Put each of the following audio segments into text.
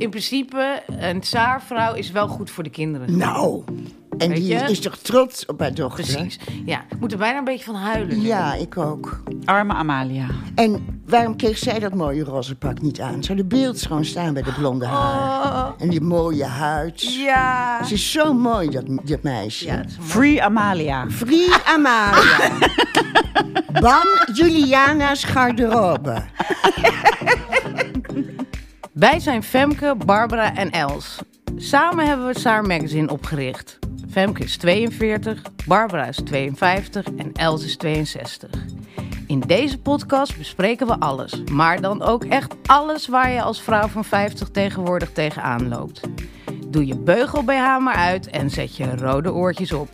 In principe, een tsaarvrouw is wel goed voor de kinderen. Nou, en Weet die je? is toch trots op haar dochter? Precies. Ja, ik moet er bijna een beetje van huilen. nu. Ja, ik ook. Arme Amalia. En waarom kreeg zij dat mooie roze pak niet aan? Zou de beeld gewoon staan bij de blonde haar? En die mooie huid. Oh. Ja. Ze is zo mooi, dat, dat meisje. Ja, dat is mooi. Free Amalia. Free Amalia. Ban Juliana's garderobe. Wij zijn Femke, Barbara en Els. Samen hebben we Saar Magazine opgericht. Femke is 42, Barbara is 52 en Els is 62. In deze podcast bespreken we alles, maar dan ook echt alles waar je als vrouw van 50 tegenwoordig tegenaan loopt. Doe je beugel BH maar uit en zet je rode oortjes op.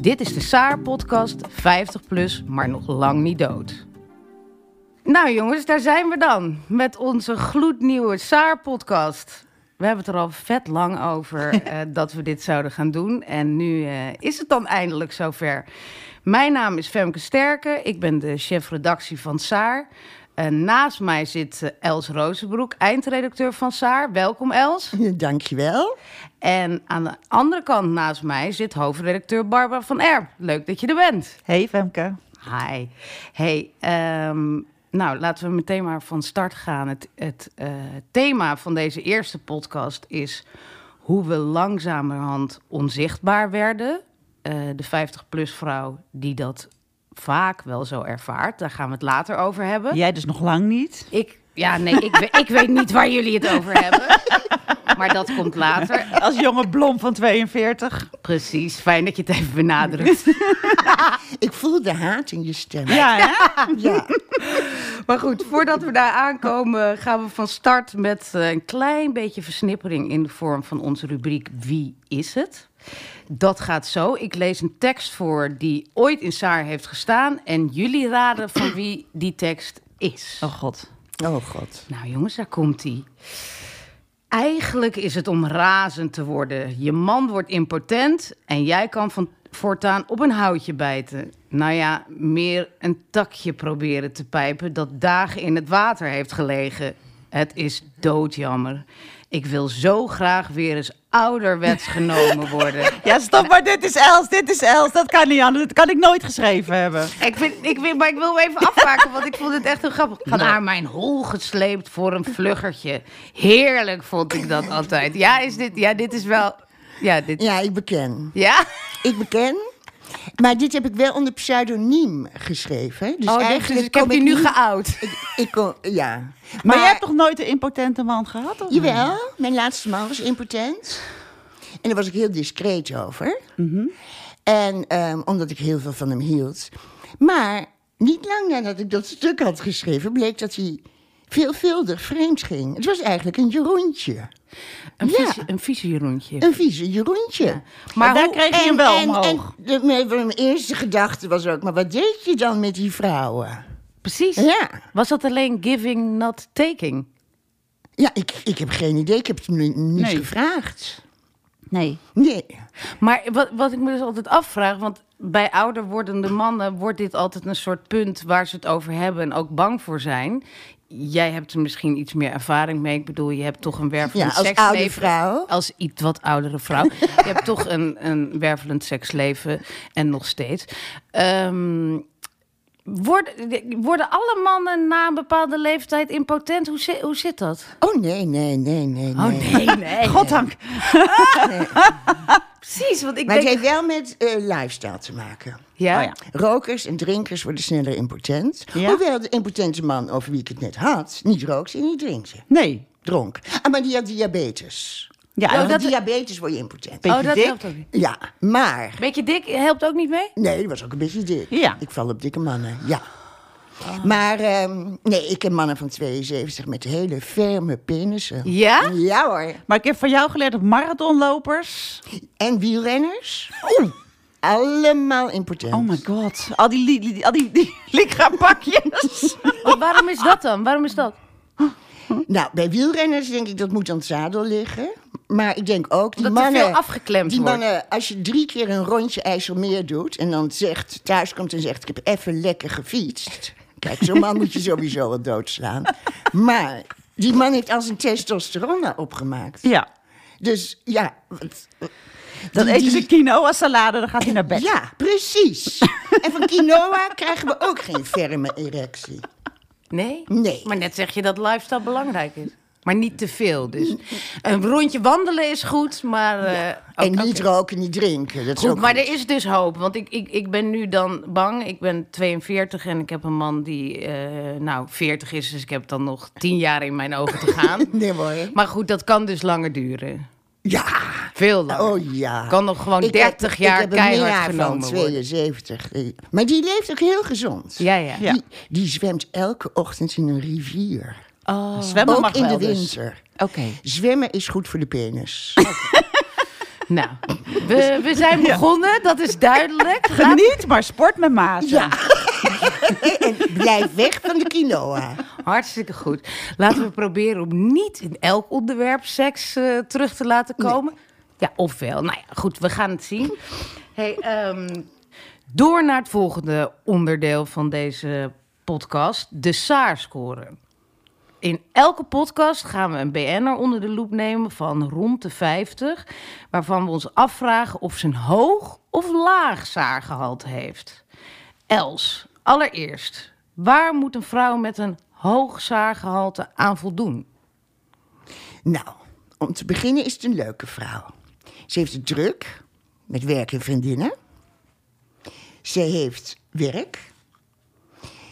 Dit is de Saar podcast 50 plus, maar nog lang niet dood. Nou jongens, daar zijn we dan. Met onze gloednieuwe Saar-podcast. We hebben het er al vet lang over eh, dat we dit zouden gaan doen. En nu eh, is het dan eindelijk zover. Mijn naam is Femke Sterke. Ik ben de chef-redactie van Saar. Eh, naast mij zit eh, Els Rozenbroek, eindredacteur van Saar. Welkom Els. Dankjewel. En aan de andere kant naast mij zit hoofdredacteur Barbara van Erp. Leuk dat je er bent. Hey Femke. Hi. Hey, ehm, nou laten we meteen maar van start gaan. Het, het eh, thema van deze eerste podcast is hoe we langzamerhand onzichtbaar werden. Eh, de 50-plus vrouw die dat vaak wel zo ervaart. Daar gaan we het later over hebben. Jij dus nog lang niet. Ik, ja, nee, ik, we- ik weet niet waar jullie het over hebben. Maar dat komt later. Als jonge blom van 42. Precies, fijn dat je het even benadrukt. Ik voel de haat in je stem. Ja, hè? Ja. Maar goed, voordat we daar aankomen, gaan we van start met eh, een klein beetje versnippering in de vorm van onze rubriek Wie is het? Dat gaat zo. Ik lees een tekst voor die ooit in Saar heeft gestaan. En jullie raden van wie die tekst is. Oh god. Oh god. Nou jongens, daar komt hij. Eigenlijk is het om razend te worden. Je man wordt impotent en jij kan van voortaan op een houtje bijten. Nou ja, meer een takje proberen te pijpen dat dagen in het water heeft gelegen. Het is doodjammer. Ik wil zo graag weer eens ouderwets genomen worden. Ja, stop maar. Dit is Els. Dit is Els. Dat kan niet anders. Dat kan ik nooit geschreven hebben. Ik vind, ik vind, maar ik wil hem even afmaken, want ik vond het echt heel grappig. Van haar mijn hol gesleept voor een vluggertje. Heerlijk vond ik dat altijd. Ja, is dit, ja dit is wel... Ja, dit, ja? Ja, ik beken. Ja? Ik beken. Maar dit heb ik wel onder pseudoniem geschreven. hè. Dus Oh, dit- eigenlijk dus ik heb kom die nu niet- geout. Ik, ik kom, ja. Maar, Maar, jij hebt toch nooit een impotente man gehad? Of? Jawel, mijn laatste man was impotent. En daar was ik heel discreet over. Mhm. En ehm, omdat ik heel veel van hem hield. Maar niet lang nadat ik dat stuk had geschreven, bleek dat hij veelvuldig vreemd ging. Het was eigenlijk een Jeroentje. Een, Ja. vieze, een vieze Jeroentje. Een vieze Jeroentje. Maar daar hoe- kreeg je hem wel en, omhoog. En de- mijn, mijn eerste gedachte was ook, maar wat deed je dan met die vrouwen? precies. Ja. Was dat alleen giving, not taking? Ja, ik, ik heb geen idee. Ik heb het hem ni- niet Nee. gevraagd. Nee. Nee. Maar wat, wat ik me dus altijd afvraag, want bij ouder wordende mannen wordt dit altijd een soort punt waar ze het over hebben en ook bang voor zijn. Jij hebt er misschien iets meer ervaring mee. Ik bedoel, je hebt toch een wervelend Ja, als seksleven. oude vrouw. Als iets wat oudere vrouw. je hebt toch een, een wervelend seksleven en nog steeds. Ehm, worden, worden alle mannen na een bepaalde leeftijd impotent? Hoe, zi- hoe zit dat? Oh nee, nee, nee, nee, Oh, nee. nee. Goddank. Precies, want ik Maar het denk... heeft wel met eh, lifestyle te maken. Ja? Oh ja. Rokers en drinkers worden sneller impotent. Ja? Hoewel de impotente man over wie ik het net had, niet rookte en niet drinkte. Nee. Dronk. Ah, maar die had diabetes. Ja, Door dat... diabetes word je impotent. Beetje Oh, dat dik. helpt ook niet. Ja, maar... Beetje dik helpt ook niet mee? Nee, dat was ook een beetje dik. Ja. Ik val op dikke mannen, ja. Maar ehm, nee, ik ken mannen van 72 met hele ferme penissen. Ja? Ja hoor. Maar ik heb van jou geleerd dat marathonlopers... En wielrenners. Oeh, allemaal important. Oh my god. Al die, li- li- al die, die lichaambakjes. Maar waarom is dat dan? Waarom is dat? Nou, bij wielrenners denk ik dat moet aan het zadel liggen. Maar ik denk ook, die Omdat er mannen... veel afgeklemd die wordt. mannen, als je drie keer een rondje IJsselmeer doet... en dan zegt, thuis komt en zegt, ik heb even lekker gefietst. Kijk, zo'n man moet je sowieso wel doodslaan. Maar die man heeft al zijn testosteron al opgemaakt. ja. Dus ja... wat- Dan die- eten ze die- quinoa salade, dan gaat hij naar bed. Ja, precies. en van quinoa krijgen we ook geen ferme erectie. Nee? Nee. Maar net zeg je dat lifestyle belangrijk is. Maar niet te veel. Dus een rondje wandelen is goed, maar. eh, En ook- niet oké. roken, niet drinken. Dat is Goed, ook maar er is dus hoop. Want ik, ik, ik ben nu dan bang. Ik ben 42 en ik heb een man die eh, nou 40 is. Dus ik heb dan nog 10 jaar in mijn ogen te gaan. Nee hoor. Maar goed, dat kan dus langer duren. Ja. Veel langer. Oh ja. Kan nog gewoon Ik 30 heb- jaar ik heb een keihard minnaar genomen van worden. 72. Die- Maar die leeft ook heel gezond. Ja, ja. Ja. Die, die zwemt elke ochtend in een rivier. Zwemmen ook mag in wel de dus. winter. Oké. Zwemmen is goed voor de penis. Nou, we, we zijn begonnen, dat is duidelijk. Laat- Geniet, maar sport met maat. en blijf weg van de quinoa. Hartstikke goed. Laten we proberen om niet in elk onderwerp seks eh, terug te laten komen. Ja, ofwel. Nou ja, goed, we gaan het zien. Hey, ehm, door naar het volgende onderdeel van deze podcast, de SAAR-score. In elke podcast gaan we een BN'er onder de loep nemen van rond de 50, waarvan we ons afvragen of ze een hoog of laag saargehalte heeft. Els, allereerst, waar moet een vrouw met een hoog saargehalte aan voldoen? Nou, om te beginnen is het een leuke vrouw. Ze heeft het druk met werk en vriendinnen. Ze heeft werk.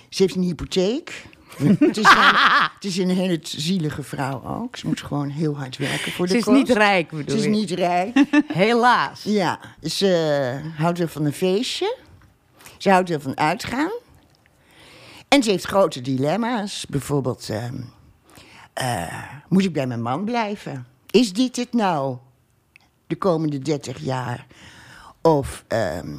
Ze heeft een hypotheek. het, is een, het is een hele zielige vrouw ook. Ze moet gewoon heel hard werken voor de Ze is kost. niet rijk, bedoel Ze is je? niet rijk. Helaas. Ja, ze houdt wel van een feestje. Ze houdt wel van uitgaan. En ze heeft grote dilemma's. Bijvoorbeeld, ehm, eh, moet ik bij mijn man blijven? Is dit het nou de komende 30 jaar? Of ehm,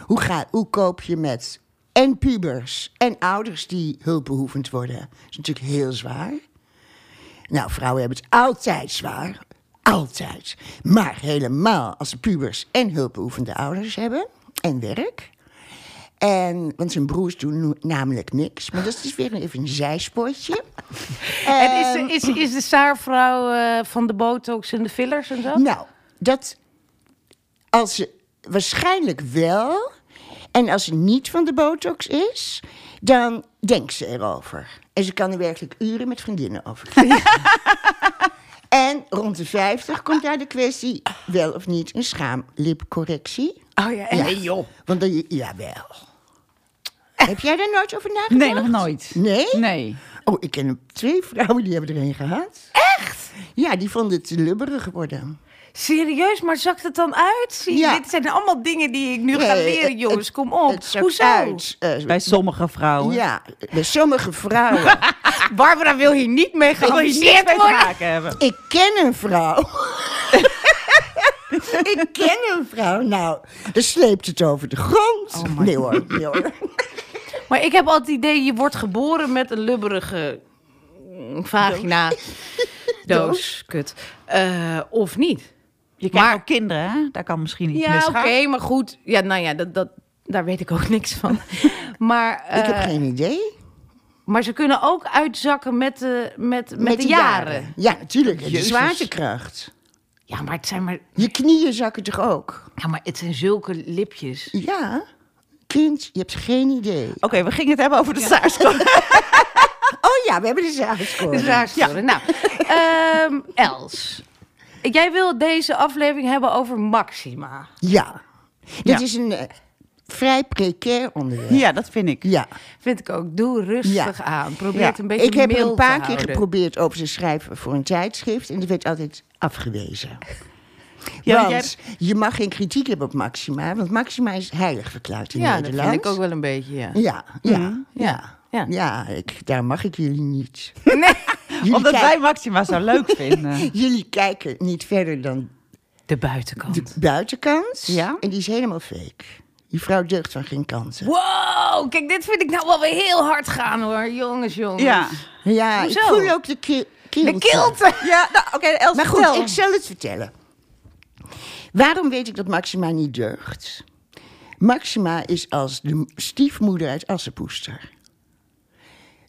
hoe, ga, hoe koop je met en pubers en ouders die hulpbehoevend worden? Dat is natuurlijk heel zwaar. Nou, vrouwen hebben het altijd zwaar. Altijd. Maar helemaal als ze pubers en hulpbeoefende ouders hebben. En werk. En, want zijn broers doen no- namelijk niks. Maar dat is weer even een zijspotje. En is, eh, de- is, is de saarvrouw eh, van de botox en de fillers en zo? Nou, dat als ze waarschijnlijk wel. En als ze niet van de botox is, dan denkt ze erover. En ze kan er werkelijk uren met vriendinnen over krijgen. en rond de 50 komt daar de kwestie wel of niet een schaamlipcorrectie. Oh ja, echt? joh. Want dan, jawel. Heb jij daar nooit over nagedacht? Nee, nog nooit. Nee? Nee. Oh, ik ken twee vrouwen die hebben er een gehad. Echt? Ja, die vonden het te lubberig worden. Serieus, maar zakt het dan uit? Zie je, Ja. Dit zijn allemaal dingen die ik nu ga Nee, leren, het- jongens. het- Kom op. het zakt Hoezo? uit, eh, Bij sommige vrouwen. ja, bij sommige vrouwen. Barbara wil hier niet mee Ik wil hier niks geamuseerd mee te worden. maken hebben. ik ken een vrouw. ik ken een vrouw. Nou, dan sleept het over de grond. nee hoor, nee hoor. Maar ik heb altijd het idee, je wordt geboren met een lubberige mm, vagina. Doos, kut. Eh, of niet. Je krijgt Maar- ook kinderen, hè? Daar kan misschien iets Ja, oké, misgaan. maar goed. Ja, nou ja, dat, dat, daar weet ik ook niks van. maar, ik heb eh, geen idee. maar ze kunnen ook uitzakken met de, met, met de die jaren. Ja, natuurlijk. De Jezus. zwaartekracht. Ja, maar het zijn maar, Je knieën zakken toch ook? ja, maar het zijn zulke lipjes. Ja. Kind, je hebt geen idee. Oké, we gingen het hebben over de saarskant. Oh ja, we hebben de zaagscore. Dus daar storen. Nou, ehm, Els. Jij wil deze aflevering hebben over Maxima. Ja. Dit Ja. is een eh, vrij precair onderwerp. Ja, dat vind ik. ja. Vind ik ook. Doe rustig Ja. aan. Probeer Ja. het een beetje Ik heb er mild een paar te keer houden. geprobeerd over te schrijven voor een tijdschrift. En dat werd altijd afgewezen. Ja, want want je mag geen kritiek hebben op Maxima. Want Maxima is heilig verklaard in Ja, dat Nederland. vind ik ook wel een beetje, ja. Ja, ja, ja. Ja. Ja. Ja, ik, daar mag ik jullie niet. Jullie, Omdat kijk- wij Maxima zo leuk vinden. jullie kijken niet verder dan De buitenkant. de buitenkant. Ja. En die is helemaal fake. Die vrouw deugt van geen kanten. Wow, kijk, dit vind ik nou wel weer heel hard gaan hoor. Jongens, jongens. Ja. Ja, ik Hoezo? voel ook de ki- kilte. De kilte. Ja, nou, oké, Els, Maar goed, vertel. ik zal het vertellen. Waarom weet ik dat Maxima niet deugt? Maxima is als de m- stiefmoeder uit Assenpoester.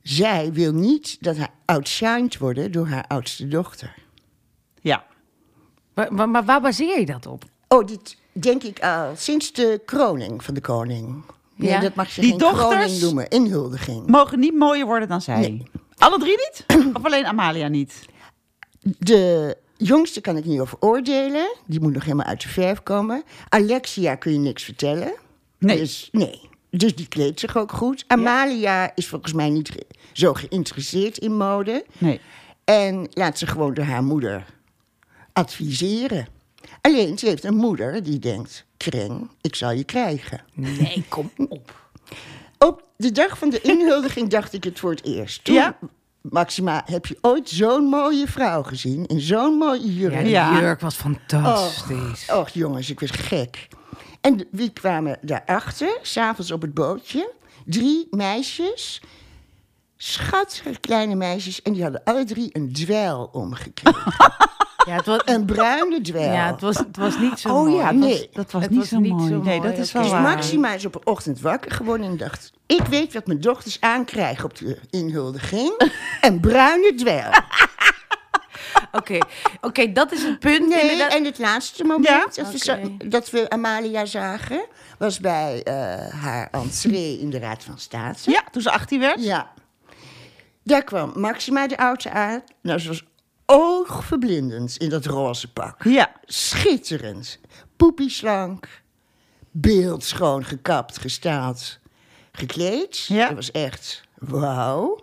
Zij wil niet dat haar outshined worden door haar oudste dochter. Ja. Maar, maar, maar waar baseer je dat op? Oh, dit denk ik al sinds de kroning van de koning. Nee, Ja. dat mag je Die geen dochters- kroning noemen, inhuldiging. Mogen niet mooier worden dan zij. Nee. Alle drie niet? Of alleen Amalia niet? De jongste kan ik niet over oordelen. Die moet nog helemaal uit de verf komen. Alexia kun je niks vertellen. Nee. Dus, nee. dus die kleedt zich ook goed. Amalia is volgens mij niet ge- zo geïnteresseerd in mode. Nee. En laat ze gewoon door haar moeder adviseren. Alleen, ze heeft een moeder die denkt... Kreng, ik zal je krijgen. Nee, kom op. Op de dag van de inhuldiging dacht ik het voor het eerst. Toen, Ja. Maxima, heb je ooit zo'n mooie vrouw gezien? In zo'n mooie Ja, jurk? die Ja. jurk was fantastisch. Och, jongens, ik was gek. En wie kwamen daarachter, s'avonds op het bootje? Drie meisjes. Schattige kleine meisjes. En die hadden alle drie een dweil omgekregen. Ja, het was, een bruine dweil. ja, het was, het was niet zo Oh mooi. ja, Het was- Oh. nee. Dat was Het niet, was zo, niet mooi. zo Nee, mooi, dat is oké. wel Dus waar. Maxima is op een ochtend wakker geworden en dacht... ik weet wat mijn dochters aankrijgen op de inhuldiging. een bruine dweil. Oké, oké, dat is het punt. Nee, inderdaad. en het laatste moment Ja? dat, we za- dat we Amalia zagen... was bij eh, haar entree in de Raad van State. Ja, toen ze 18 werd. Ja. Daar kwam Maxima de Oude aan. Nou, ze was oogverblindend in dat roze pak. Ja. Schitterend. Poepieslank. Beeldschoon gekapt, gestaald. Gekleed. Ja. Dat was echt wauw.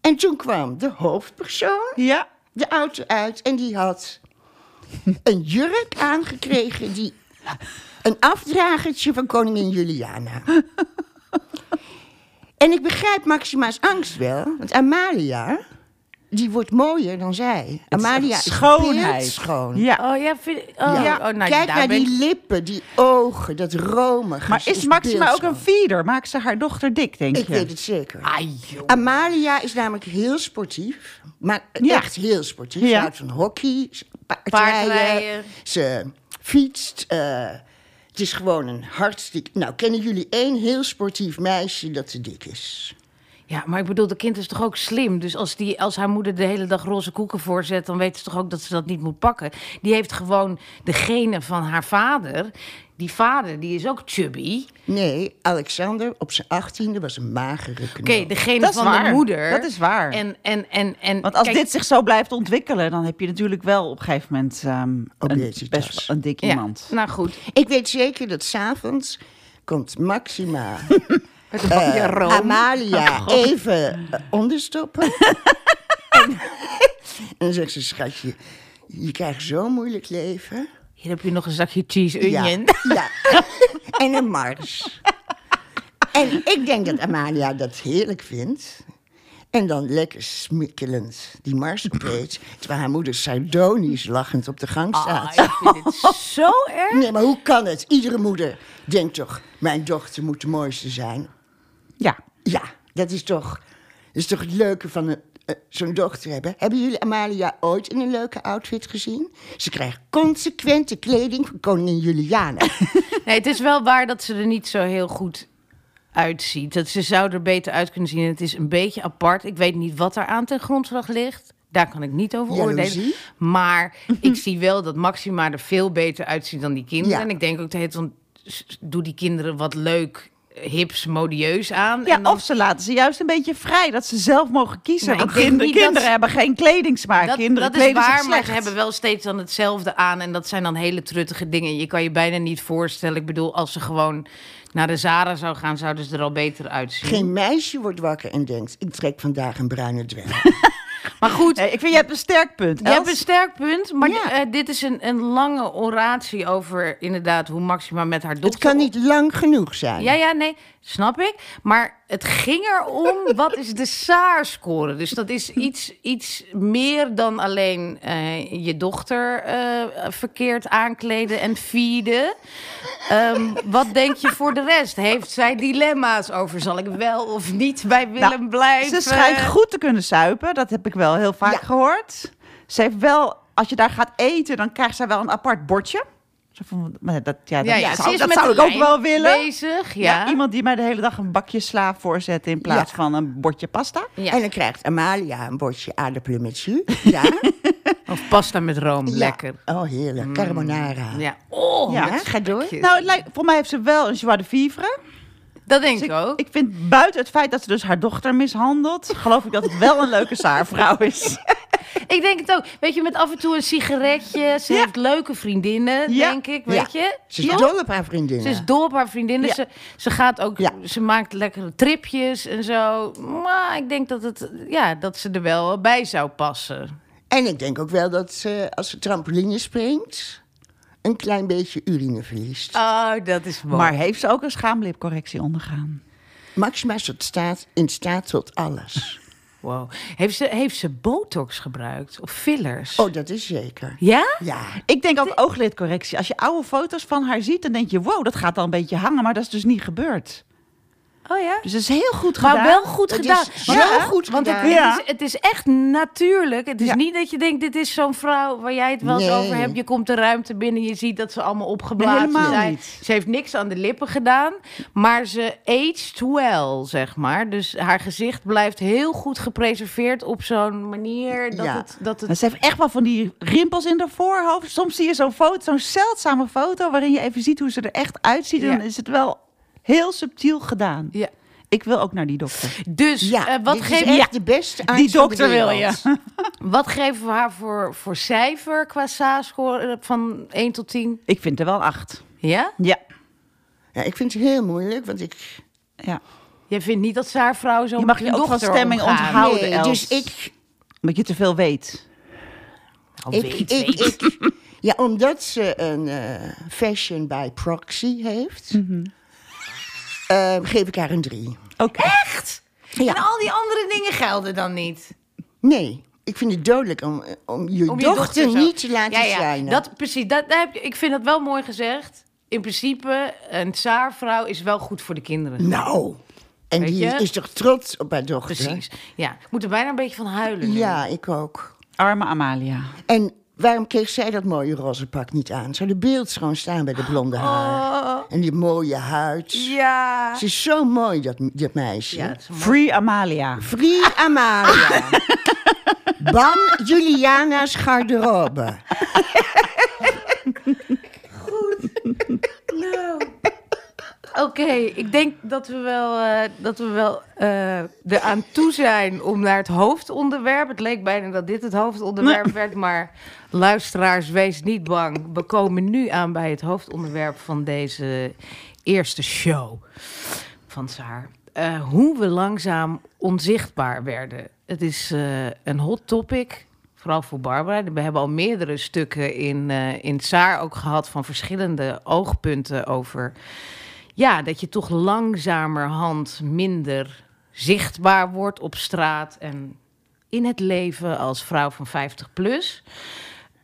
En toen kwam de hoofdpersoon Ja. de auto uit en die had een jurk aangekregen die een afdragertje van koningin Juliana. En ik begrijp Maxima's angst wel, want Amalia die wordt mooier dan zij. Amalia is Schoonheid. schoon. Ja. Oh ja, vind, oh, Ja. oh, nou, Kijk daar naar ben ik- die lippen, die ogen, dat romige. Maar Ze is Maxima ook een beeldschoon. feeder? Maakt ze haar dochter dik, denk Ik je? weet het zeker. Ai, joh. Amalia is namelijk heel sportief. Maar Ja. echt heel sportief. Ja. Ze houdt van hockey, ze- paardrijden. Paardrijden. Ze fietst. eh, het is gewoon een hartstikke... Nou, kennen jullie één heel sportief meisje dat te dik is? Ja, maar ik bedoel, de kind is toch ook slim. Dus als, die, als haar moeder de hele dag roze koeken voorzet, dan weet ze toch ook dat ze dat niet moet pakken. Die heeft gewoon de genen van haar vader. Die vader, die is ook chubby. Nee, Alexander op zijn achttiende was een magere knul. Oké, de genen Dat is van de waar. moeder. Dat is waar. En, en, en, en, Want als kijk, dit zich zo blijft ontwikkelen, dan heb je natuurlijk wel op een gegeven moment ehm, een, Obesitas. best wel een dik ja, iemand. Nou goed. Ik weet zeker dat s'avonds komt Maxima... Met een bakje eh, room. Oh, Amalia even eh, onderstoppen. En- en dan zegt ze, schatje, je krijgt zo'n moeilijk leven. Hier heb je nog een zakje cheese Ja, onion. ja. en een mars. En ik denk dat Amalia dat heerlijk vindt. En dan lekker smikkelend die mars opeet. Terwijl haar moeder sardonisch lachend op de gang Ah, staat. ik vind dit zo erg. Nee, maar hoe kan het? Iedere moeder denkt toch, mijn dochter moet de mooiste zijn. Ja. Ja, dat is toch, dat is toch het leuke van een, eh, zo'n dochter hebben. Hebben jullie Amalia ooit in een leuke outfit gezien? Ze krijgt consequente kleding van koningin Juliana. Nee, het is wel waar dat ze er niet zo heel goed uitziet. Dat ze zou er beter uit kunnen zien. Het is een beetje apart. Ik weet niet wat daar aan ten grondslag ligt. Daar kan ik niet over oordelen. Jaloezie? Maar ik zie wel dat Maxima er veel beter uitziet dan die kinderen. Ja. En ik denk ook de hele tijd van, s- s- doe die kinderen wat leuk, hips, modieus aan. Ja, en dan- of ze laten ze juist een beetje vrij, dat ze zelf mogen kiezen. Nou, Want ik denk kinder- niet dat kinderen ze- hebben geen kledingsmaak. dat, kinderen dat is kleden zich waar, maar slecht. ze hebben wel steeds dan hetzelfde aan. En dat zijn dan hele truttige dingen. Je kan je bijna niet voorstellen. Ik bedoel, als ze gewoon naar de Zara zou gaan, zouden ze er al beter uitzien. Geen meisje wordt wakker en denkt, ik trek vandaag een bruine dwerg. Maar goed, Nee, ik vind, je hebt een sterk punt. je hebt Els? een sterk punt, maar Ja. eh, dit is een, een lange oratie over inderdaad hoe Maxima met haar dochter... Het kan niet lang genoeg zijn. Ja, ja, nee, snap ik. Maar het ging erom, wat is de SAAR-score? Dus dat is iets, iets meer dan alleen eh, je dochter eh, verkeerd aankleden en feeden. Ehm, wat denk je voor de rest? Heeft zij dilemma's over, zal ik wel of niet bij Willem Nou, blijven? Ze schijnt goed te kunnen suipen. Dat heb ik wel heel vaak gehoord. Ze heeft wel, als je daar gaat eten, dan krijgt zij wel een apart bordje. Zo van, maar dat, ja, dat, Ja, ja, zou, ze is dat met zou de ik ook lijn wel willen. bezig, Ja. ja. iemand die mij de hele dag een bakje sla voorzet in plaats Ja. van een bordje pasta. Ja. En dan krijgt Amalia een bordje aardappelen met jus. Ja. Of pasta met room, Ja. lekker. Mm. Oh, heerlijk. Carbonara. Ja, oh, Ja. met Ga door. spekjes. Nou, het lijkt, voor mij heeft ze wel een joie de vivre. dat denk Dus ik ook. ik vind buiten het feit dat ze dus haar dochter mishandelt, geloof ik dat het wel een leuke saarvrouw is. Ik denk het ook. Weet je, met af en toe een sigaretje. Ze Ja. heeft leuke vriendinnen, Ja. denk ik. Weet Ja. je? Ze is Ja. dol op haar vriendinnen. Ze is dol op haar vriendinnen. Ja. Ze, ze gaat ook, Ja. ze maakt lekkere tripjes en zo. Maar ik denk dat, het, ja, dat ze er wel bij zou passen. En ik denk ook wel dat ze, als ze trampoline springt, een klein beetje urine verliest. Oh, dat is mooi. Maar heeft ze ook een schaamlipcorrectie ondergaan? Maxima is tot staat, in staat tot alles. wow. heeft, ze, heeft ze botox gebruikt? Of fillers? Oh, dat is zeker. Ja? Ja. Ik denk ook ooglidcorrectie. Als je oude foto's van haar ziet, dan denk je, wow, dat gaat al een beetje hangen. Maar dat is dus niet gebeurd. Oh ja? Dus dat is heel goed gedaan. Maar wel goed Het is gedaan. zo Ja, goed want het- gedaan. Het, Ja. is, het is echt natuurlijk. Het is Ja. niet dat je denkt, dit is zo'n vrouw waar jij het wel eens Nee. over hebt. Je komt de ruimte binnen, je ziet dat ze allemaal opgeblazen Helemaal zijn. niet. Ze heeft niks aan de lippen gedaan, maar ze aged well, zeg maar. Dus haar gezicht blijft heel goed gepreserveerd op zo'n manier dat Ja. het... Dat Maar het Ze heeft echt wel van die rimpels in haar voorhoofd. Soms zie je zo'n foto, zo'n zeldzame foto... waarin je even ziet hoe ze er echt uitziet. En Ja. dan is het wel heel subtiel gedaan. ja. Ik wil ook naar die dokter. Dus Ja, eh, wat dit geeft... is echt Ja. de beste arts Die van de dokter wil wereld. je. Wat geven we haar voor, voor cijfer qua SA-score van 1 tot 10? Ik vind er wel acht. Ja? Ja. Ja, ik vind het heel moeilijk, want ik... ja. Jij vindt niet dat ze haar vrouw zo Je met mag je ook van dochter stemming omgaan? onthouden. Oude Els. dus ik... Omdat je te veel weet. Nou, ik, weet, ik, weet. ik ja, omdat ze een eh, fashion by proxy heeft, Mhm. eh, geef ik haar een drie. Oké. Echt? En al die andere dingen gelden dan niet. Nee, ik vind het dodelijk om, eh, om je Om je dochter, zo- niet te laten ja, ja, schijnen. Dat, precies, dat, daar heb je- ik vind dat wel mooi gezegd. In principe, een tsaarvrouw is wel goed voor de kinderen. Nou, en Weet die je? is toch trots op haar dochter? Precies. Ja, ik moet er bijna een beetje van huilen. nu. Ja, ik ook. Arme Amalia. En waarom kreeg zij dat mooie roze pak niet aan? Zou de beeld schoon staan bij de blonde haar? En die mooie huid. Oh. Ja. Ze is zo mooi, dat, dat meisje. Ja, het is een mooi- Free Amalia. Free Amalia. Ban Juliana's garderobe. Oké, ik denk dat we wel, eh, dat we wel eh eraan toe zijn om naar het hoofdonderwerp. Het leek bijna dat dit het hoofdonderwerp werd, maar luisteraars, wees niet bang. We komen nu aan bij het hoofdonderwerp van deze eerste show van Saar. Eh, hoe we langzaam onzichtbaar werden. Het is eh, een hot topic, vooral voor Barbara. We hebben al meerdere stukken in, eh in Saar ook gehad van verschillende oogpunten over... Ja, dat je toch langzamerhand minder zichtbaar wordt op straat en in het leven als vrouw van 50 plus.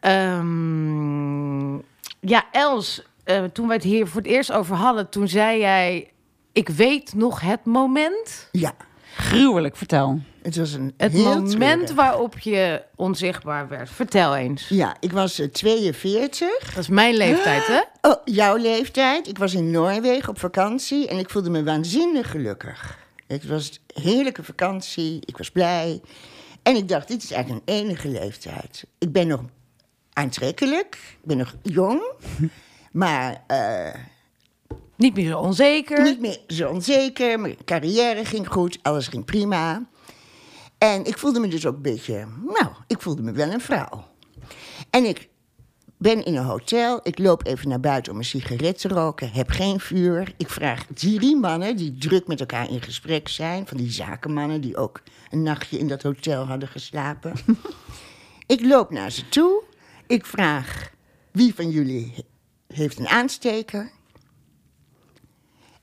Ehm, ja, Els, eh, toen we het hier voor het eerst over hadden, toen zei jij: Ik weet nog het moment. Ja, Gruwelijk, vertel. het was een Het heel moment treurig. waarop je onzichtbaar werd. Vertel eens. Ja, ik was eh, 42. Dat is mijn leeftijd, hè? Oh, jouw leeftijd. Ik was in Noorwegen op vakantie en ik voelde me waanzinnig gelukkig. Het was een heerlijke vakantie, ik was blij. En ik dacht, dit is eigenlijk een enige leeftijd. Ik ben nog aantrekkelijk, ik ben nog jong, maar eh, Niet meer zo onzeker. niet meer zo onzeker. Mijn carrière ging goed, alles ging prima. En ik voelde me dus ook een beetje, nou, ik voelde me wel een vrouw. En ik ben in een hotel. Ik loop even naar buiten om een sigaret te roken. Heb geen vuur. Ik vraag drie mannen die druk met elkaar in gesprek zijn. Van die zakenmannen die ook een nachtje in dat hotel hadden geslapen. ik loop naar ze toe. Ik vraag wie van jullie he- heeft een aansteker.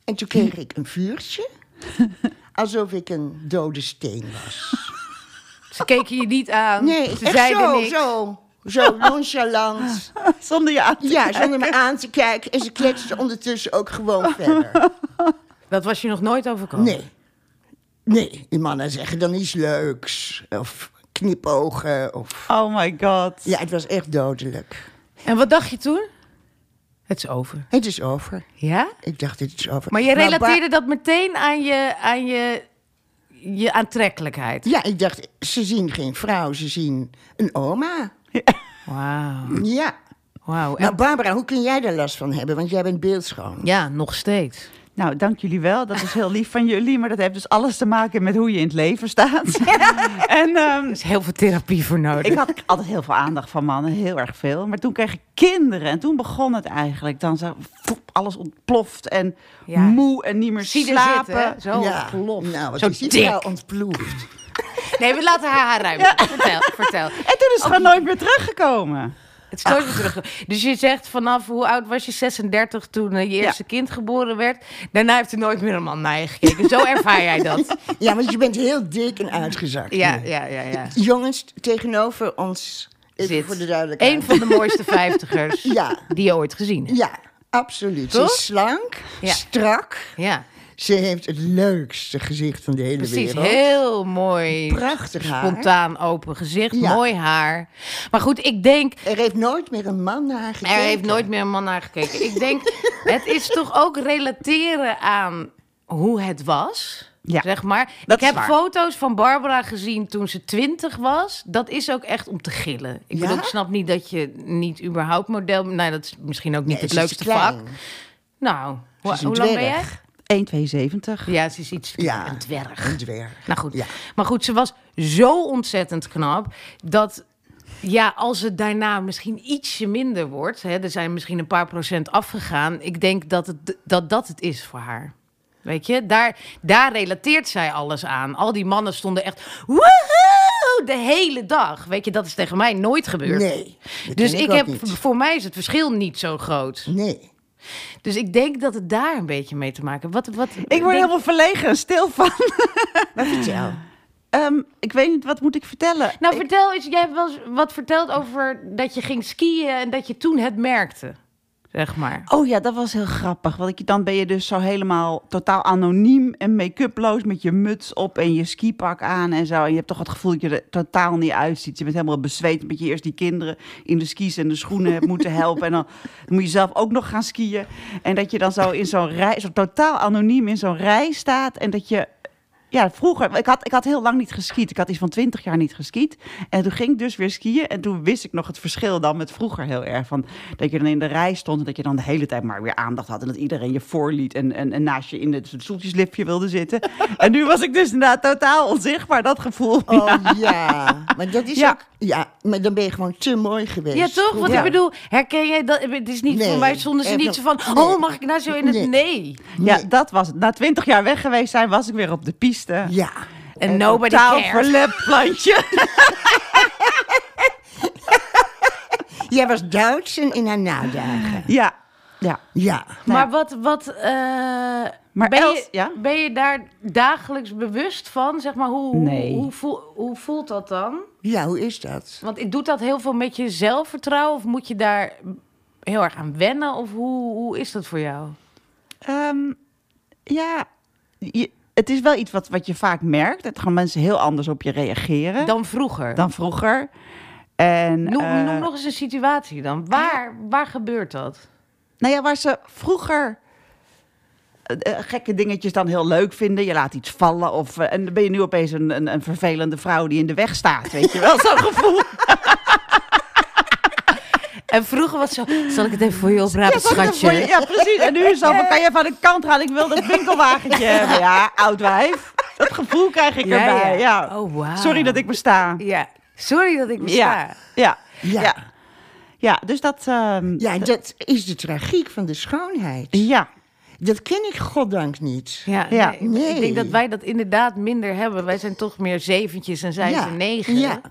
En toen kreeg ik een vuurtje. Alsof ik een dode steen was. Ze keken je niet aan. Nee, ze echt zeiden zo, niks. zo. Zo nonchalant. Zonder je aan te Ja, zonder me aan te kijken. En ze kletste ondertussen ook gewoon verder. Dat was je nog nooit overkomen. Nee. Nee, die mannen zeggen dan iets leuks. Of knipogen. Of... Oh my god. Ja, het was echt dodelijk. En wat dacht je toen? Het is over. Het is over. Ja? Nou, Ik dacht, het is over. Nou, Maar je Bar- relateerde dat meteen aan je, aan je, je aantrekkelijkheid. Ja, ik dacht, ze zien geen vrouw, ze zien een oma. Wauw. Ja. Wauw. En- Nou, Barbara, hoe kun jij daar last van hebben? Want jij bent beeldschoon. Ja, nog steeds. Nou, dank jullie wel. Dat is heel lief van jullie. Maar dat heeft dus alles te maken met hoe je in het leven staat. en ehm, Er is heel veel therapie voor nodig. ik had altijd heel veel aandacht van mannen. Heel erg veel. Maar toen kreeg ik kinderen. En toen begon het eigenlijk. Dan zo, voep, alles ontploft. En Ja. moe en niet meer Zie er slapen. zitten, hè? Zo Ja. plof. Nou, wat Oh, Zo is die dik. vrouw ontploegd. Nee, we laten haar haar ruimte. Vertel, vertel. en toen is het gewoon nooit meer teruggekomen. Het is nooit weer terug. Dus je zegt vanaf hoe oud was je? 36 toen eh, je Ja. eerste kind geboren werd. Daarna heeft er nooit meer een man naar je gekeken. Zo ervaar jij dat. Ja, want je bent heel dik en uitgezakt. Ja, nu. ja, ja, ja. Jongens, tegenover ons, even Zit. voor de duidelijkheid. Een van de mooiste vijftigers Ja. die je ooit gezien hebt. Ja, absoluut. Ze Toch? is slank, Ja. strak. Ja, Ze heeft het leukste gezicht van de hele precies. wereld. Heel mooi. Prachtig haar. Spontaan open gezicht. Ja. Mooi haar. Maar goed, ik denk, Er heeft nooit meer een man naar haar gekeken. Er heeft nooit meer een man naar gekeken. Ik denk, het is toch ook relateren aan hoe het was. Ja, zeg maar. dat ik is heb waar. foto's van Barbara gezien toen ze twintig was. Dat is ook echt om te gillen. Ik, Ja? bedoel, ik snap niet dat je niet überhaupt model... Nou, dat is misschien ook niet Nee, het ze is leukste te klein. vak. Nou, ho- is een hoe lang ben jij? dwerg. 1,72. Ja, ze is iets Ja. een dwerg. Een dwerg. Nou goed. Ja. Maar goed, ze was zo ontzettend knap dat. Ja, als het daarna misschien ietsje minder wordt, hè, er zijn misschien een paar procent afgegaan. Ik denk dat het, dat, dat het is voor haar. Weet je, daar, daar relateert zij alles aan. Al die mannen stonden echt woehoe, de hele dag. Weet je, dat is tegen mij nooit gebeurd. Nee, dat dus ken ik, ik ook heb, niet. voor mij is het verschil niet zo groot. Nee. Dus ik denk dat het daar een beetje mee te maken heeft. Wat, wat, Ik word helemaal verlegen en stil van. Maar vertel. Ehm, ik weet niet, wat moet ik vertellen? Nou, vertel eens, jij hebt wel eens wat verteld over dat je ging skiën en dat je toen het merkte, zeg maar. Oh ja, dat was heel grappig. Want ik- dan ben je dus zo helemaal totaal anoniem en make-uploos met je muts op en je skipak aan en zo. En je hebt toch het gevoel dat je er totaal niet uitziet. Je bent helemaal bezweet omdat je eerst die kinderen in de skis en de schoenen hebt moeten helpen. En dan moet je zelf ook nog gaan skiën. En dat je dan zo in zo'n rij, zo totaal anoniem in zo'n rij staat en dat je ja, vroeger. Ik had, ik had heel lang niet geskiet. Ik had iets van twintig jaar niet geskiet. En toen ging ik dus weer skiën. En toen wist ik nog het verschil dan met vroeger heel erg. Van, dat je dan in de rij stond en dat je dan de hele tijd maar weer aandacht had. En dat iedereen je voorliet en, en, en naast je in het stoeltjesliftje wilde zitten. en nu was ik dus inderdaad totaal onzichtbaar, dat gevoel. Oh ja. Maar dat is Ja. ook... Ja, maar dan ben je gewoon te mooi geweest. Ja, toch? Want Ja. ik bedoel, herken jij dat? Het is niet Nee. voor mij stonden ze Echt niet zo van, nog- oh, nee. mag ik nou zo in het nee? Nee. Ja, dat was het. Na twintig jaar weg geweest zijn, was ik weer op de piste. Eh, Ja. En nobody Totaal cares. verlept plantje. Jij was Duitsen in haar nadagen. ja, ja. Ja. Maar wat, wat, eh, Maar ben, Els- je, ja? ben je daar dagelijks bewust van? Zeg maar, hoe, hoe- Nee. hoe, voel- hoe voelt dat dan? Ja, hoe is dat? Want doet dat heel veel met je zelfvertrouwen? Of moet je daar heel erg aan wennen? Of hoe, hoe is dat voor jou? Ehm, ja, je- het is wel iets wat, wat je vaak merkt. Dat gaan mensen heel anders op je reageren dan, Dan vroeger? vroeger. En, Noem, eh, noem nog eens een situatie dan. Waar, waar gebeurt dat? Nou ja, waar ze vroeger eh, eh, gekke dingetjes dan heel leuk vinden. Je laat iets vallen. Of, eh, en dan ben je nu opeens een, een, een vervelende vrouw die in de weg staat. Weet je wel, zo'n gevoel. En vroeger was zo... Zal ik het even voor je Ja, oprapen, zal ik dat schatje? voor je- ja, precies. En nu is het zo van, kan je van de kant gaan? Ik wil dat winkelwagentje hebben. Ja, oud wijf. Dat gevoel krijg ik Ja, ja. erbij. Ja. Oh, wauw. Sorry dat ik besta. Ja. Sorry dat ik besta. Ja, ja, Ja. ja. Ja, dus dat... ehm, Ja, dat is de tragiek van de schoonheid. ja. Dat ken ik goddank niet. Ja, Ja. nee, ik denk dat wij dat inderdaad minder hebben. Wij zijn toch meer zeventjes en zij Ja, zijn negen. ja.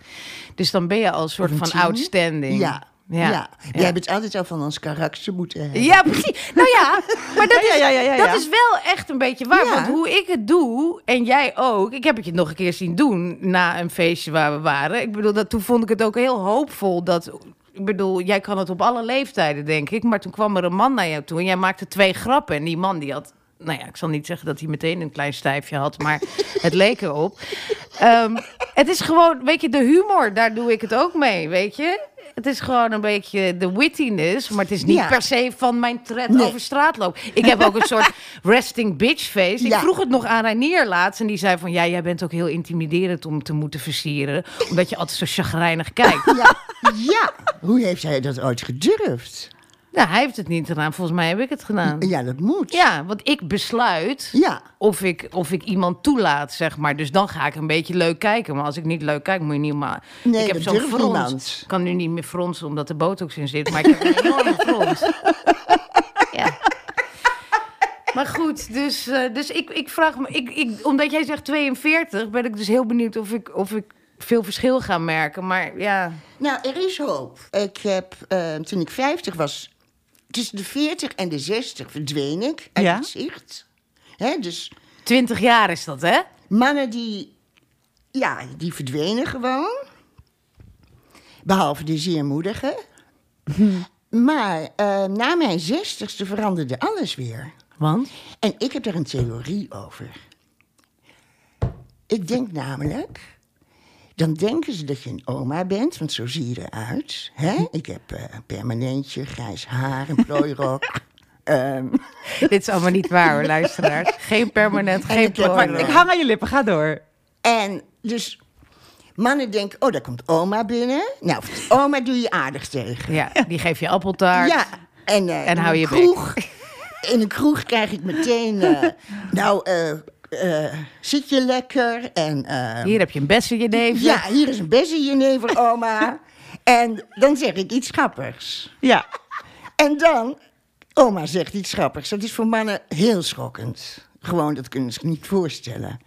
Dus dan ben je al een soort van tien. outstanding. Ja. Ja. ja. Jij hebt het altijd al van ons karakter moeten hebben. Ja, precies. Nou ja, maar dat, Ja, is, ja, ja, ja, ja. dat is wel echt een beetje waar. Ja. Want hoe ik het doe, en jij ook. Ik heb het je nog een keer zien doen na een feestje waar we waren. Ik bedoel, dat, toen vond ik het ook heel hoopvol dat... Ik bedoel, jij kan het op alle leeftijden, denk ik. Maar toen kwam er een man naar jou toe en jij maakte twee grappen. En die man die had... Nou ja, ik zal niet zeggen dat hij meteen een klein stijfje had, maar het leek erop. Ehm, het is gewoon, weet je, de humor, daar doe ik het ook mee, weet je? Het is gewoon een beetje de wittiness, maar het is niet Ja. per se van mijn tred Nee. over straat lopen. Ik heb ook een soort resting bitch face. Ik Ja. vroeg het nog aan Reinier laatst en die zei van... ja, jij bent ook heel intimiderend om te moeten versieren... omdat je altijd zo chagrijnig kijkt. Ja. ja. Hoe heeft hij dat ooit gedurfd? nou, hij heeft het niet gedaan. Volgens mij heb ik het gedaan. Ja, dat moet. Ja, want ik besluit Ja. of, ik, of ik iemand toelaat, zeg maar. Dus dan ga ik een beetje leuk kijken. Maar als ik niet leuk kijk, moet je niet maar... Nee, ik heb dat zo'n durft frons. niemand. Ik kan nu niet meer fronsen omdat er botox in zit. Maar ik heb een enorme frons. Ja. Maar goed, dus, eh, dus ik, ik vraag me... Ik, ik, omdat jij zegt 42, ben ik dus heel benieuwd of ik, of ik veel verschil ga merken. Maar ja... Nou, er is hoop. Ik heb, eh, toen ik 50 was, tussen de 40 en de 60 verdween ik uit Ja. het zicht. Hè, dus 20 jaar is dat, hè? mannen die, ja, die verdwenen gewoon. Behalve de zeer moedige. Maar eh, na mijn 60ste veranderde alles weer. Want? En ik heb daar een theorie over. Ik denk namelijk. Dan denken ze dat je een oma bent, want zo zie je eruit. Hè? Ik heb eh, een permanentje, grijs haar, een plooirok. Ehm, Dit is allemaal niet waar, hoor, luisteraars. Geen permanent, geen ik heb- Maar polaroid. ik hang aan je lippen, ga door. en dus mannen denken, oh, daar komt oma binnen. Nou, oma doe je aardig tegen. Ja, die geef je appeltaart. Ja, en, eh, En in hou een je bek. kroeg, In een kroeg krijg ik meteen, eh, nou, eh, eh, zit je lekker? En eh, Hier heb je een best in je neef. Ja, hier is een bes in je never, oma. en dan zeg ik iets grappigs. Ja. En dan, oma zegt iets grappigs. Dat is voor mannen heel schokkend. Gewoon, dat kunnen ze niet voorstellen.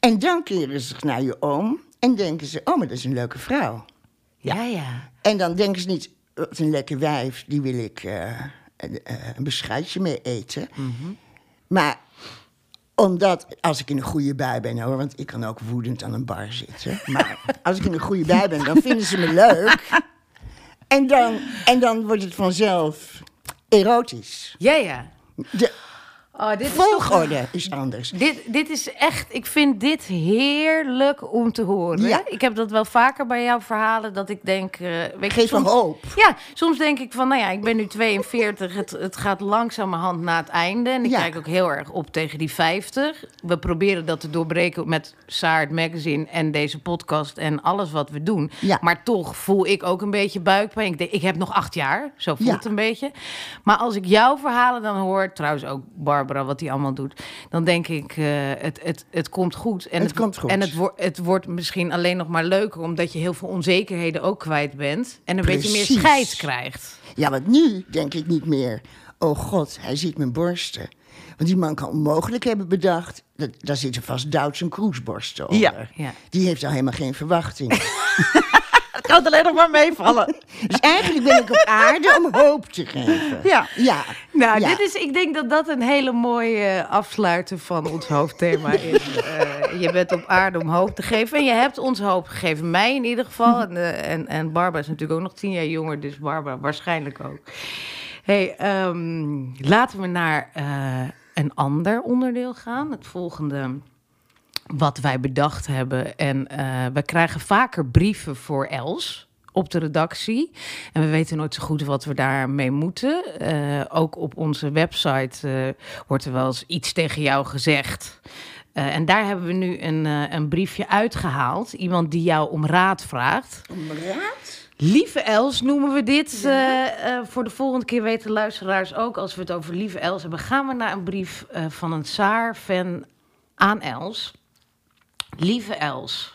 En dan keren ze zich naar je oom en denken ze... oh, maar dat is een leuke vrouw. ja. ja. En dan denken ze niet, "Oh, wat een lekker wijf, die wil ik eh, een, eh, een beschuitje mee eten. Maar omdat, als ik in een goede bui ben hoor, want ik kan ook woedend aan een bar zitten. Maar als ik in een goede bui ben, dan vinden ze me leuk. En dan, en dan wordt het vanzelf erotisch. Ja, ja. De Oh, dit volgorde is anders. Dit, dit is echt, ik vind dit heerlijk om te horen. Ja. Ik heb dat wel vaker bij jouw verhalen, dat ik denk... eh, weet je, Geef me soms- hoop. Ja, soms denk ik van, nou ja, ik ben nu 42, het, het gaat langzamerhand naar het einde. En ik Ja. kijk ook heel erg op tegen die 50. We proberen dat te doorbreken met Saard Magazine en deze podcast en alles wat we doen. Ja. Maar toch voel ik ook een beetje buikpijn. Ik denk, ik heb nog acht jaar, zo voelt Ja. het een beetje. Maar als ik jouw verhalen dan hoor, trouwens ook Barbara, wat die allemaal doet, dan denk ik, eh, het, het, het komt goed. En Het komt goed. En het, wo- het wordt misschien alleen nog maar leuker, omdat je heel veel onzekerheden ook kwijt bent. En een beetje meer Precies. scheid krijgt. Ja, want nu denk ik niet meer. Oh god, hij ziet mijn borsten. Want die man kan onmogelijk hebben bedacht. Dat, daar zitten vast Duits en kroesborsten onder. Ja, ja. Die heeft al helemaal geen verwachting. Het kan alleen nog maar meevallen. dus eigenlijk ben ik op aarde om hoop te geven. Ja. ja. Nou, ja. dit is, ik denk dat dat een hele mooie eh, afsluiter van ons hoofdthema is. Eh, je bent op aarde om hoop te geven. En je hebt ons hoop gegeven. Mij in ieder geval. En, eh, en, en Barbara is natuurlijk ook nog tien jaar jonger. Dus Barbara waarschijnlijk ook. hey, ehm, laten we naar eh, een ander onderdeel gaan. Het volgende wat wij bedacht hebben. En eh, we krijgen vaker brieven voor Els op de redactie. En we weten nooit zo goed wat we daarmee moeten. Eh, ook op onze website eh, wordt er wel eens iets tegen jou gezegd. Eh, en daar hebben we nu een, eh, een briefje uitgehaald. Iemand die jou om raad vraagt. Om raad? Lieve Els noemen we dit. Eh, eh, voor de volgende keer weten luisteraars ook, als we het over Lieve Els hebben, gaan we naar een brief eh, van een Saar-fan aan Els. Lieve Els,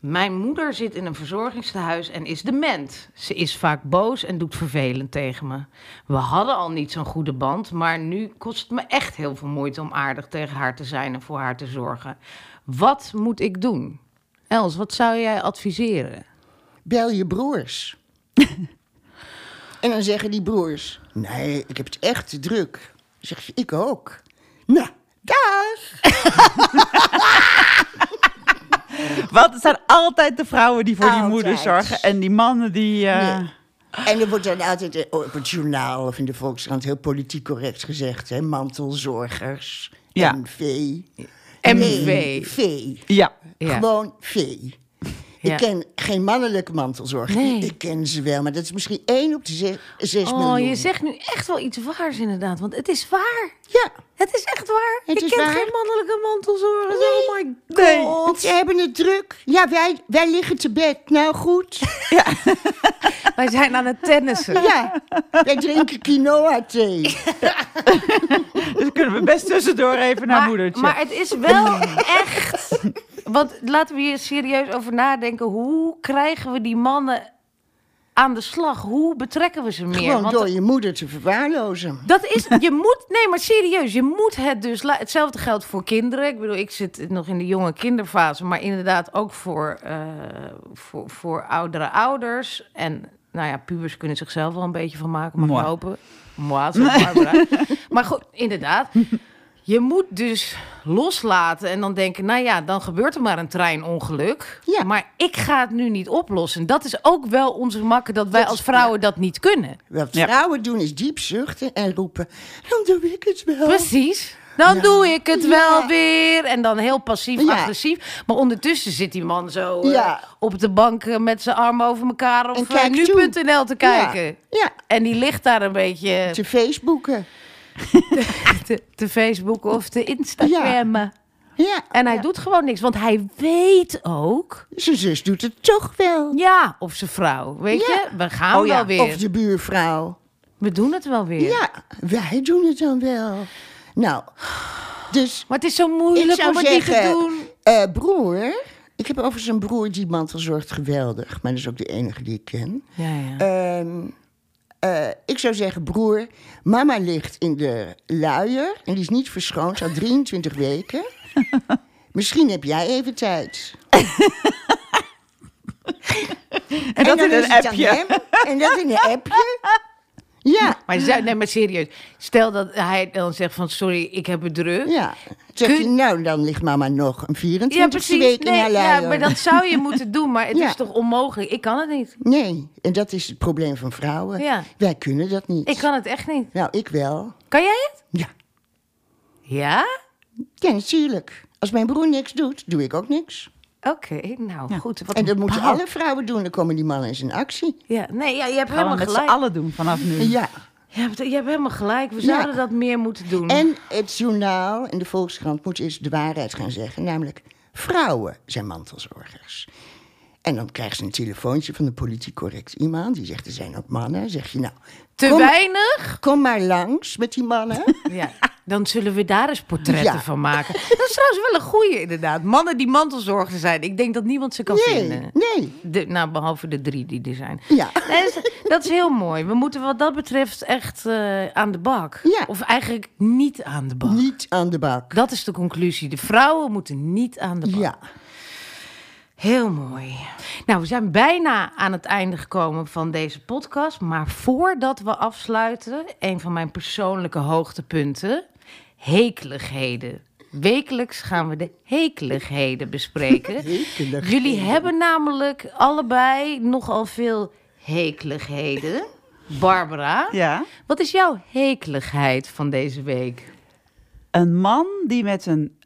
Mijn moeder zit in een verzorgingstehuis en is dement. Ze is vaak boos en doet vervelend tegen me. We hadden al niet zo'n goede band, maar nu kost het me echt heel veel moeite om aardig tegen haar te zijn en voor haar te zorgen. Wat moet ik doen? Els, wat zou jij adviseren? Bel je broers. en dan zeggen die broers: Nee, ik heb het echt te druk. Dan zeg je: Ik ook. Nou, dag. Want het zijn altijd de vrouwen die voor die Altijd. moeder zorgen. En die mannen die... Ah. eh, Nee. En er wordt dan altijd eh, op het journaal of in de Volkskrant heel politiek correct gezegd: hè? mantelzorgers, Ja. MV. MV. Nee, V. Ja. Dus Ja. Gewoon vee. Ja. Ik ken geen mannelijke mantelzorg. Nee. Ik ken ze wel, maar dat is misschien één op de ze- zes Oh, miljoen. je zegt nu echt wel iets waars inderdaad, want het is waar. Ja, Het is echt waar. Het ik is ken waar. geen mannelijke mantelzorgen. Nee. Oh my god. Nee. want ze hebben het druk. Ja, wij, wij liggen te bed. Nou goed. Wij zijn aan het tennissen. Ja, wij drinken quinoa thee. Dus kunnen we best tussendoor even naar maar, moedertje. maar het is wel echt. Want laten we hier serieus over nadenken. Hoe krijgen we die mannen aan de slag? Hoe betrekken we ze meer? Gewoon Want door je moeder te verwaarlozen. dat is, je moet, nee, maar serieus, je moet het dus. la- Hetzelfde geldt voor kinderen. Ik bedoel, ik zit nog in de jonge kinderfase, maar inderdaad ook voor, eh, voor, voor oudere ouders. En nou ja, pubers kunnen zichzelf wel een beetje van maken, mag Moi. ik hopen. Moi, zo Barbara. maar goed, inderdaad. Je moet dus loslaten en dan denken, nou ja, dan gebeurt er maar een treinongeluk. Ja. Maar ik ga het nu niet oplossen. Dat is ook wel onze makken dat wij Dat- als vrouwen dat niet kunnen. Wat Ja. vrouwen doen is diep zuchten en roepen: dan doe ik het wel. Precies. Dan Ja. doe ik het wel Ja. weer. En dan heel Ja. passief-agressief. Maar ondertussen zit die man zo eh, Ja. op de bank eh, met zijn armen over elkaar En op eh, kijk toe. nu.nl te kijken. Ja, ja. En die ligt daar een beetje te Facebooken. te, te Facebook of te Instagrammen. Ja, En hij doet gewoon niks. Want hij weet ook, zijn zus doet het toch wel. ja, of zijn vrouw. Weet Ja. je, we gaan Oh ja, wel weer. Of de buurvrouw. We doen het wel weer. Ja, wij doen het dan wel. Nou, dus Maar het is zo moeilijk om het niet te doen. eh, broer. Ik heb overigens een broer die mantelzorgt geweldig. Maar dat is ook de enige die ik ken. Ja, ja. Ehm, eh, ik zou zeggen, broer, mama ligt in de luier. En die is niet verschoond, al 23 weken. Misschien heb jij even tijd. en dat dan in dus, is een het aan appje. hem. En dat in een appje. Ja, Maar, zou- nee, maar serieus, stel dat hij dan zegt van sorry, ik heb het druk. ja. Zeg je, Kun- nou, dan ligt mama nog een 24 week in haar Nee, luier. ja, maar dat zou je moeten doen, maar het Ja. is toch onmogelijk? Ik kan het niet. Nee, en dat is het probleem van vrouwen. Ja. Wij kunnen dat niet. Ik kan het echt niet. Nou, ik wel. Kan jij het? Ja. Ja? Ja, natuurlijk. Als mijn broer niks doet, doe ik ook niks. Oké, nou goed. Wat en dat een moeten bal. alle vrouwen doen, dan komen die mannen eens in actie. Ja, nee, ja, je hebt Gaan we helemaal met z'n gelijk. allen doen vanaf nu. Ja. Je hebt, je hebt helemaal gelijk. We Ja. zouden dat meer moeten doen. En het journaal en de Volkskrant moet eens de waarheid gaan zeggen. Namelijk, vrouwen zijn mantelzorgers. En dan krijgen ze een telefoontje van de politiek correct iemand. Die zegt, er zijn ook mannen. Zeg je, nou, Te kom, weinig? kom maar langs met die mannen. Ja. Dan zullen we daar eens portretten Ja. van maken. Dat is trouwens wel een goeie, inderdaad. Mannen die mantelzorger zijn. Ik denk dat niemand ze kan Nee, vinden. nee. De, nou, behalve de drie die er zijn. Ja. Nee, dat, is, dat is heel mooi. We moeten wat dat betreft echt eh, aan de bak. Ja. Of eigenlijk niet aan de bak. Niet aan de bak. Dat is de conclusie. De vrouwen moeten niet aan de bak. Ja. Heel mooi. Nou, we zijn bijna aan het einde gekomen van deze podcast. Maar voordat we afsluiten, een van mijn persoonlijke hoogtepunten: hekeligheden. Wekelijks gaan we de hekeligheden bespreken. Hekeligheden. Jullie hebben namelijk allebei nogal veel hekeligheden. Barbara, Ja. wat is jouw hekeligheid van deze week? Een man die met een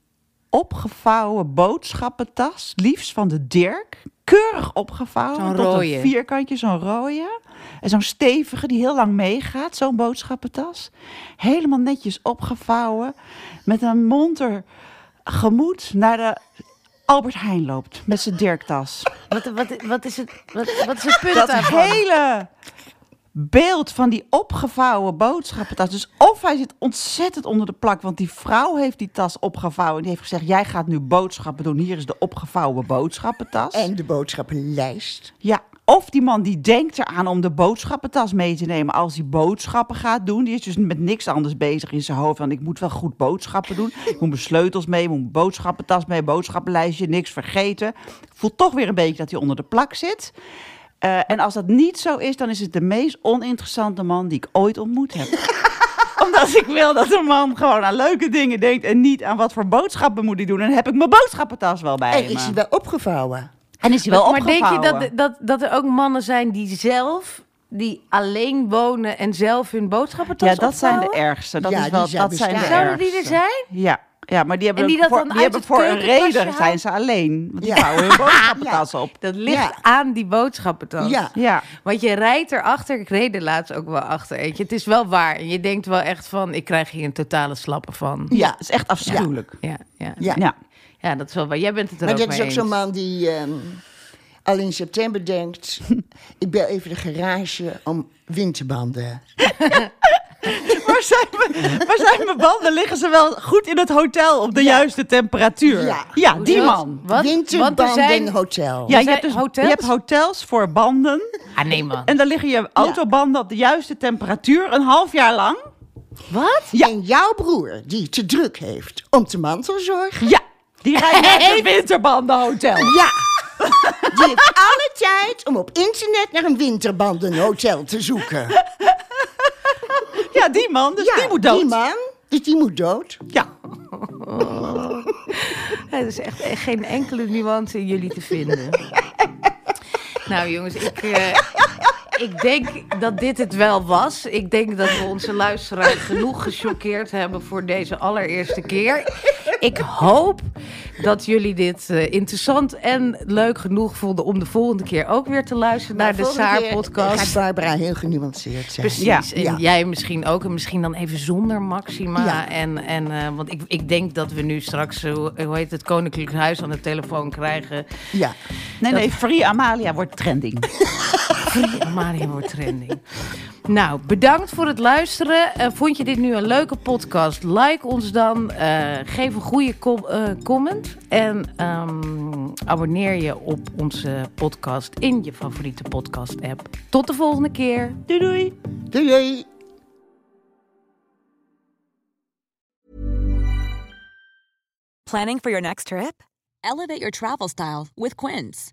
opgevouwen boodschappentas, liefst van de Dirk, keurig opgevouwen, Zo'n tot rooie. een vierkantje, zo'n rode, en zo'n stevige die heel lang meegaat, zo'n boodschappentas, helemaal netjes opgevouwen, met een monter gemoed naar de Albert Heijn loopt met zijn Dirk-tas. Wat, wat, wat, is, het, wat, wat is het punt Dat daarvan? hele beeld van die opgevouwen boodschappentas. Dus of hij zit ontzettend onder de plak, want die vrouw heeft die tas opgevouwen. En die heeft gezegd, jij gaat nu boodschappen doen. Hier is de opgevouwen boodschappentas. En de boodschappenlijst. Ja, of die man die denkt eraan om de boodschappentas mee te nemen als hij boodschappen gaat doen. Die is dus met niks anders bezig in zijn hoofd. Want ik moet wel goed boodschappen doen. Ik moet mijn sleutels mee, ik moet mijn boodschappentas mee, boodschappenlijstje, niks vergeten. Ik voel toch weer een beetje dat hij onder de plak zit. Eh, en als dat niet zo is, dan is het de meest oninteressante man die ik ooit ontmoet heb. Omdat ik wil dat een man gewoon aan leuke dingen denkt en niet aan wat voor boodschappen moet hij doen. En dan heb ik mijn boodschappentas wel bij En me. is hij wel opgevouwen? En is hij wel maar denk je opgevouwen. dat, dat, dat er ook mannen zijn die zelf, die alleen wonen en zelf hun boodschappentas Ja, dat zijn de opvouwen? ergste. Dat Ja, is wel, die zijn dat zijn de bestaan. Zouden die er ergste. zijn? Ja. ja, maar die hebben, En die dat voor, dan die uit hebben het voor een keukenkastje reden halen? zijn ze alleen. Want die Ja. vouwen hun boodschappentas op. Dat ligt Ja. aan die boodschappentas. Ja. Ja. Want je rijdt erachter, ik reed er laatst ook wel achter. Weet je. Het is wel waar. En je denkt wel echt van, ik krijg hier een totale slappe van. ja, dat is echt afschuwelijk. Ja, ja. Ja. ja. Ja. dat is wel waar. Jij bent het er Maar ook dat mee is ook eens. zo'n man die ehm, al in september denkt... ik bel even de garage om winterbanden. Waar, zijn mijn, waar zijn mijn banden? Liggen ze wel goed in het hotel op de juiste temperatuur? Ja. die Hoezo? man. Wat? Want er Winterbanden zijn... hotel. Ja, je, zijn hebt dus, hotels? je hebt hotels voor banden. Ah, nee man. En dan liggen je autobanden op de juiste temperatuur een half jaar lang. Wat? En jouw broer, die te druk heeft om te mantelzorg... Ja, die rijden naar een winterbandenhotel. Ja, die heeft alle tijd om op internet naar een winterbandenhotel te zoeken. Dus Ja, die man. Dus ja, die moet dood. die man, dus die moet dood. Ja. Er is echt, echt geen enkele nuance in jullie te vinden. nou jongens, ik, eh, ik denk dat dit het wel was. Ik denk dat we onze luisteraars genoeg gechoqueerd hebben voor deze allereerste keer. Ik hoop dat jullie dit eh, interessant en leuk genoeg vonden om de volgende keer ook weer te luisteren naar de volgende keer Gaat Saar-podcast. Barbara heel genuanceerd zijn. Precies. Ja, en ja. jij misschien ook. En misschien dan even zonder Maxima. Ja. En, en, eh, want ik, ik denk dat we nu straks, eh, hoe, hoe heet het, Koninklijk Huis aan de telefoon krijgen. Ja. Nee, nee, Free Amalia wordt trending. Mario wordt trending. Nou, bedankt voor het luisteren. Eh, vond je dit nu een leuke podcast? Like ons dan. eh, geef een goede com- eh, comment. En ehm, abonneer je op onze podcast in je favoriete podcast-app. Tot de volgende keer. Doei doei. Doei, doei. Planning for your next trip? Elevate your travel style with Quince.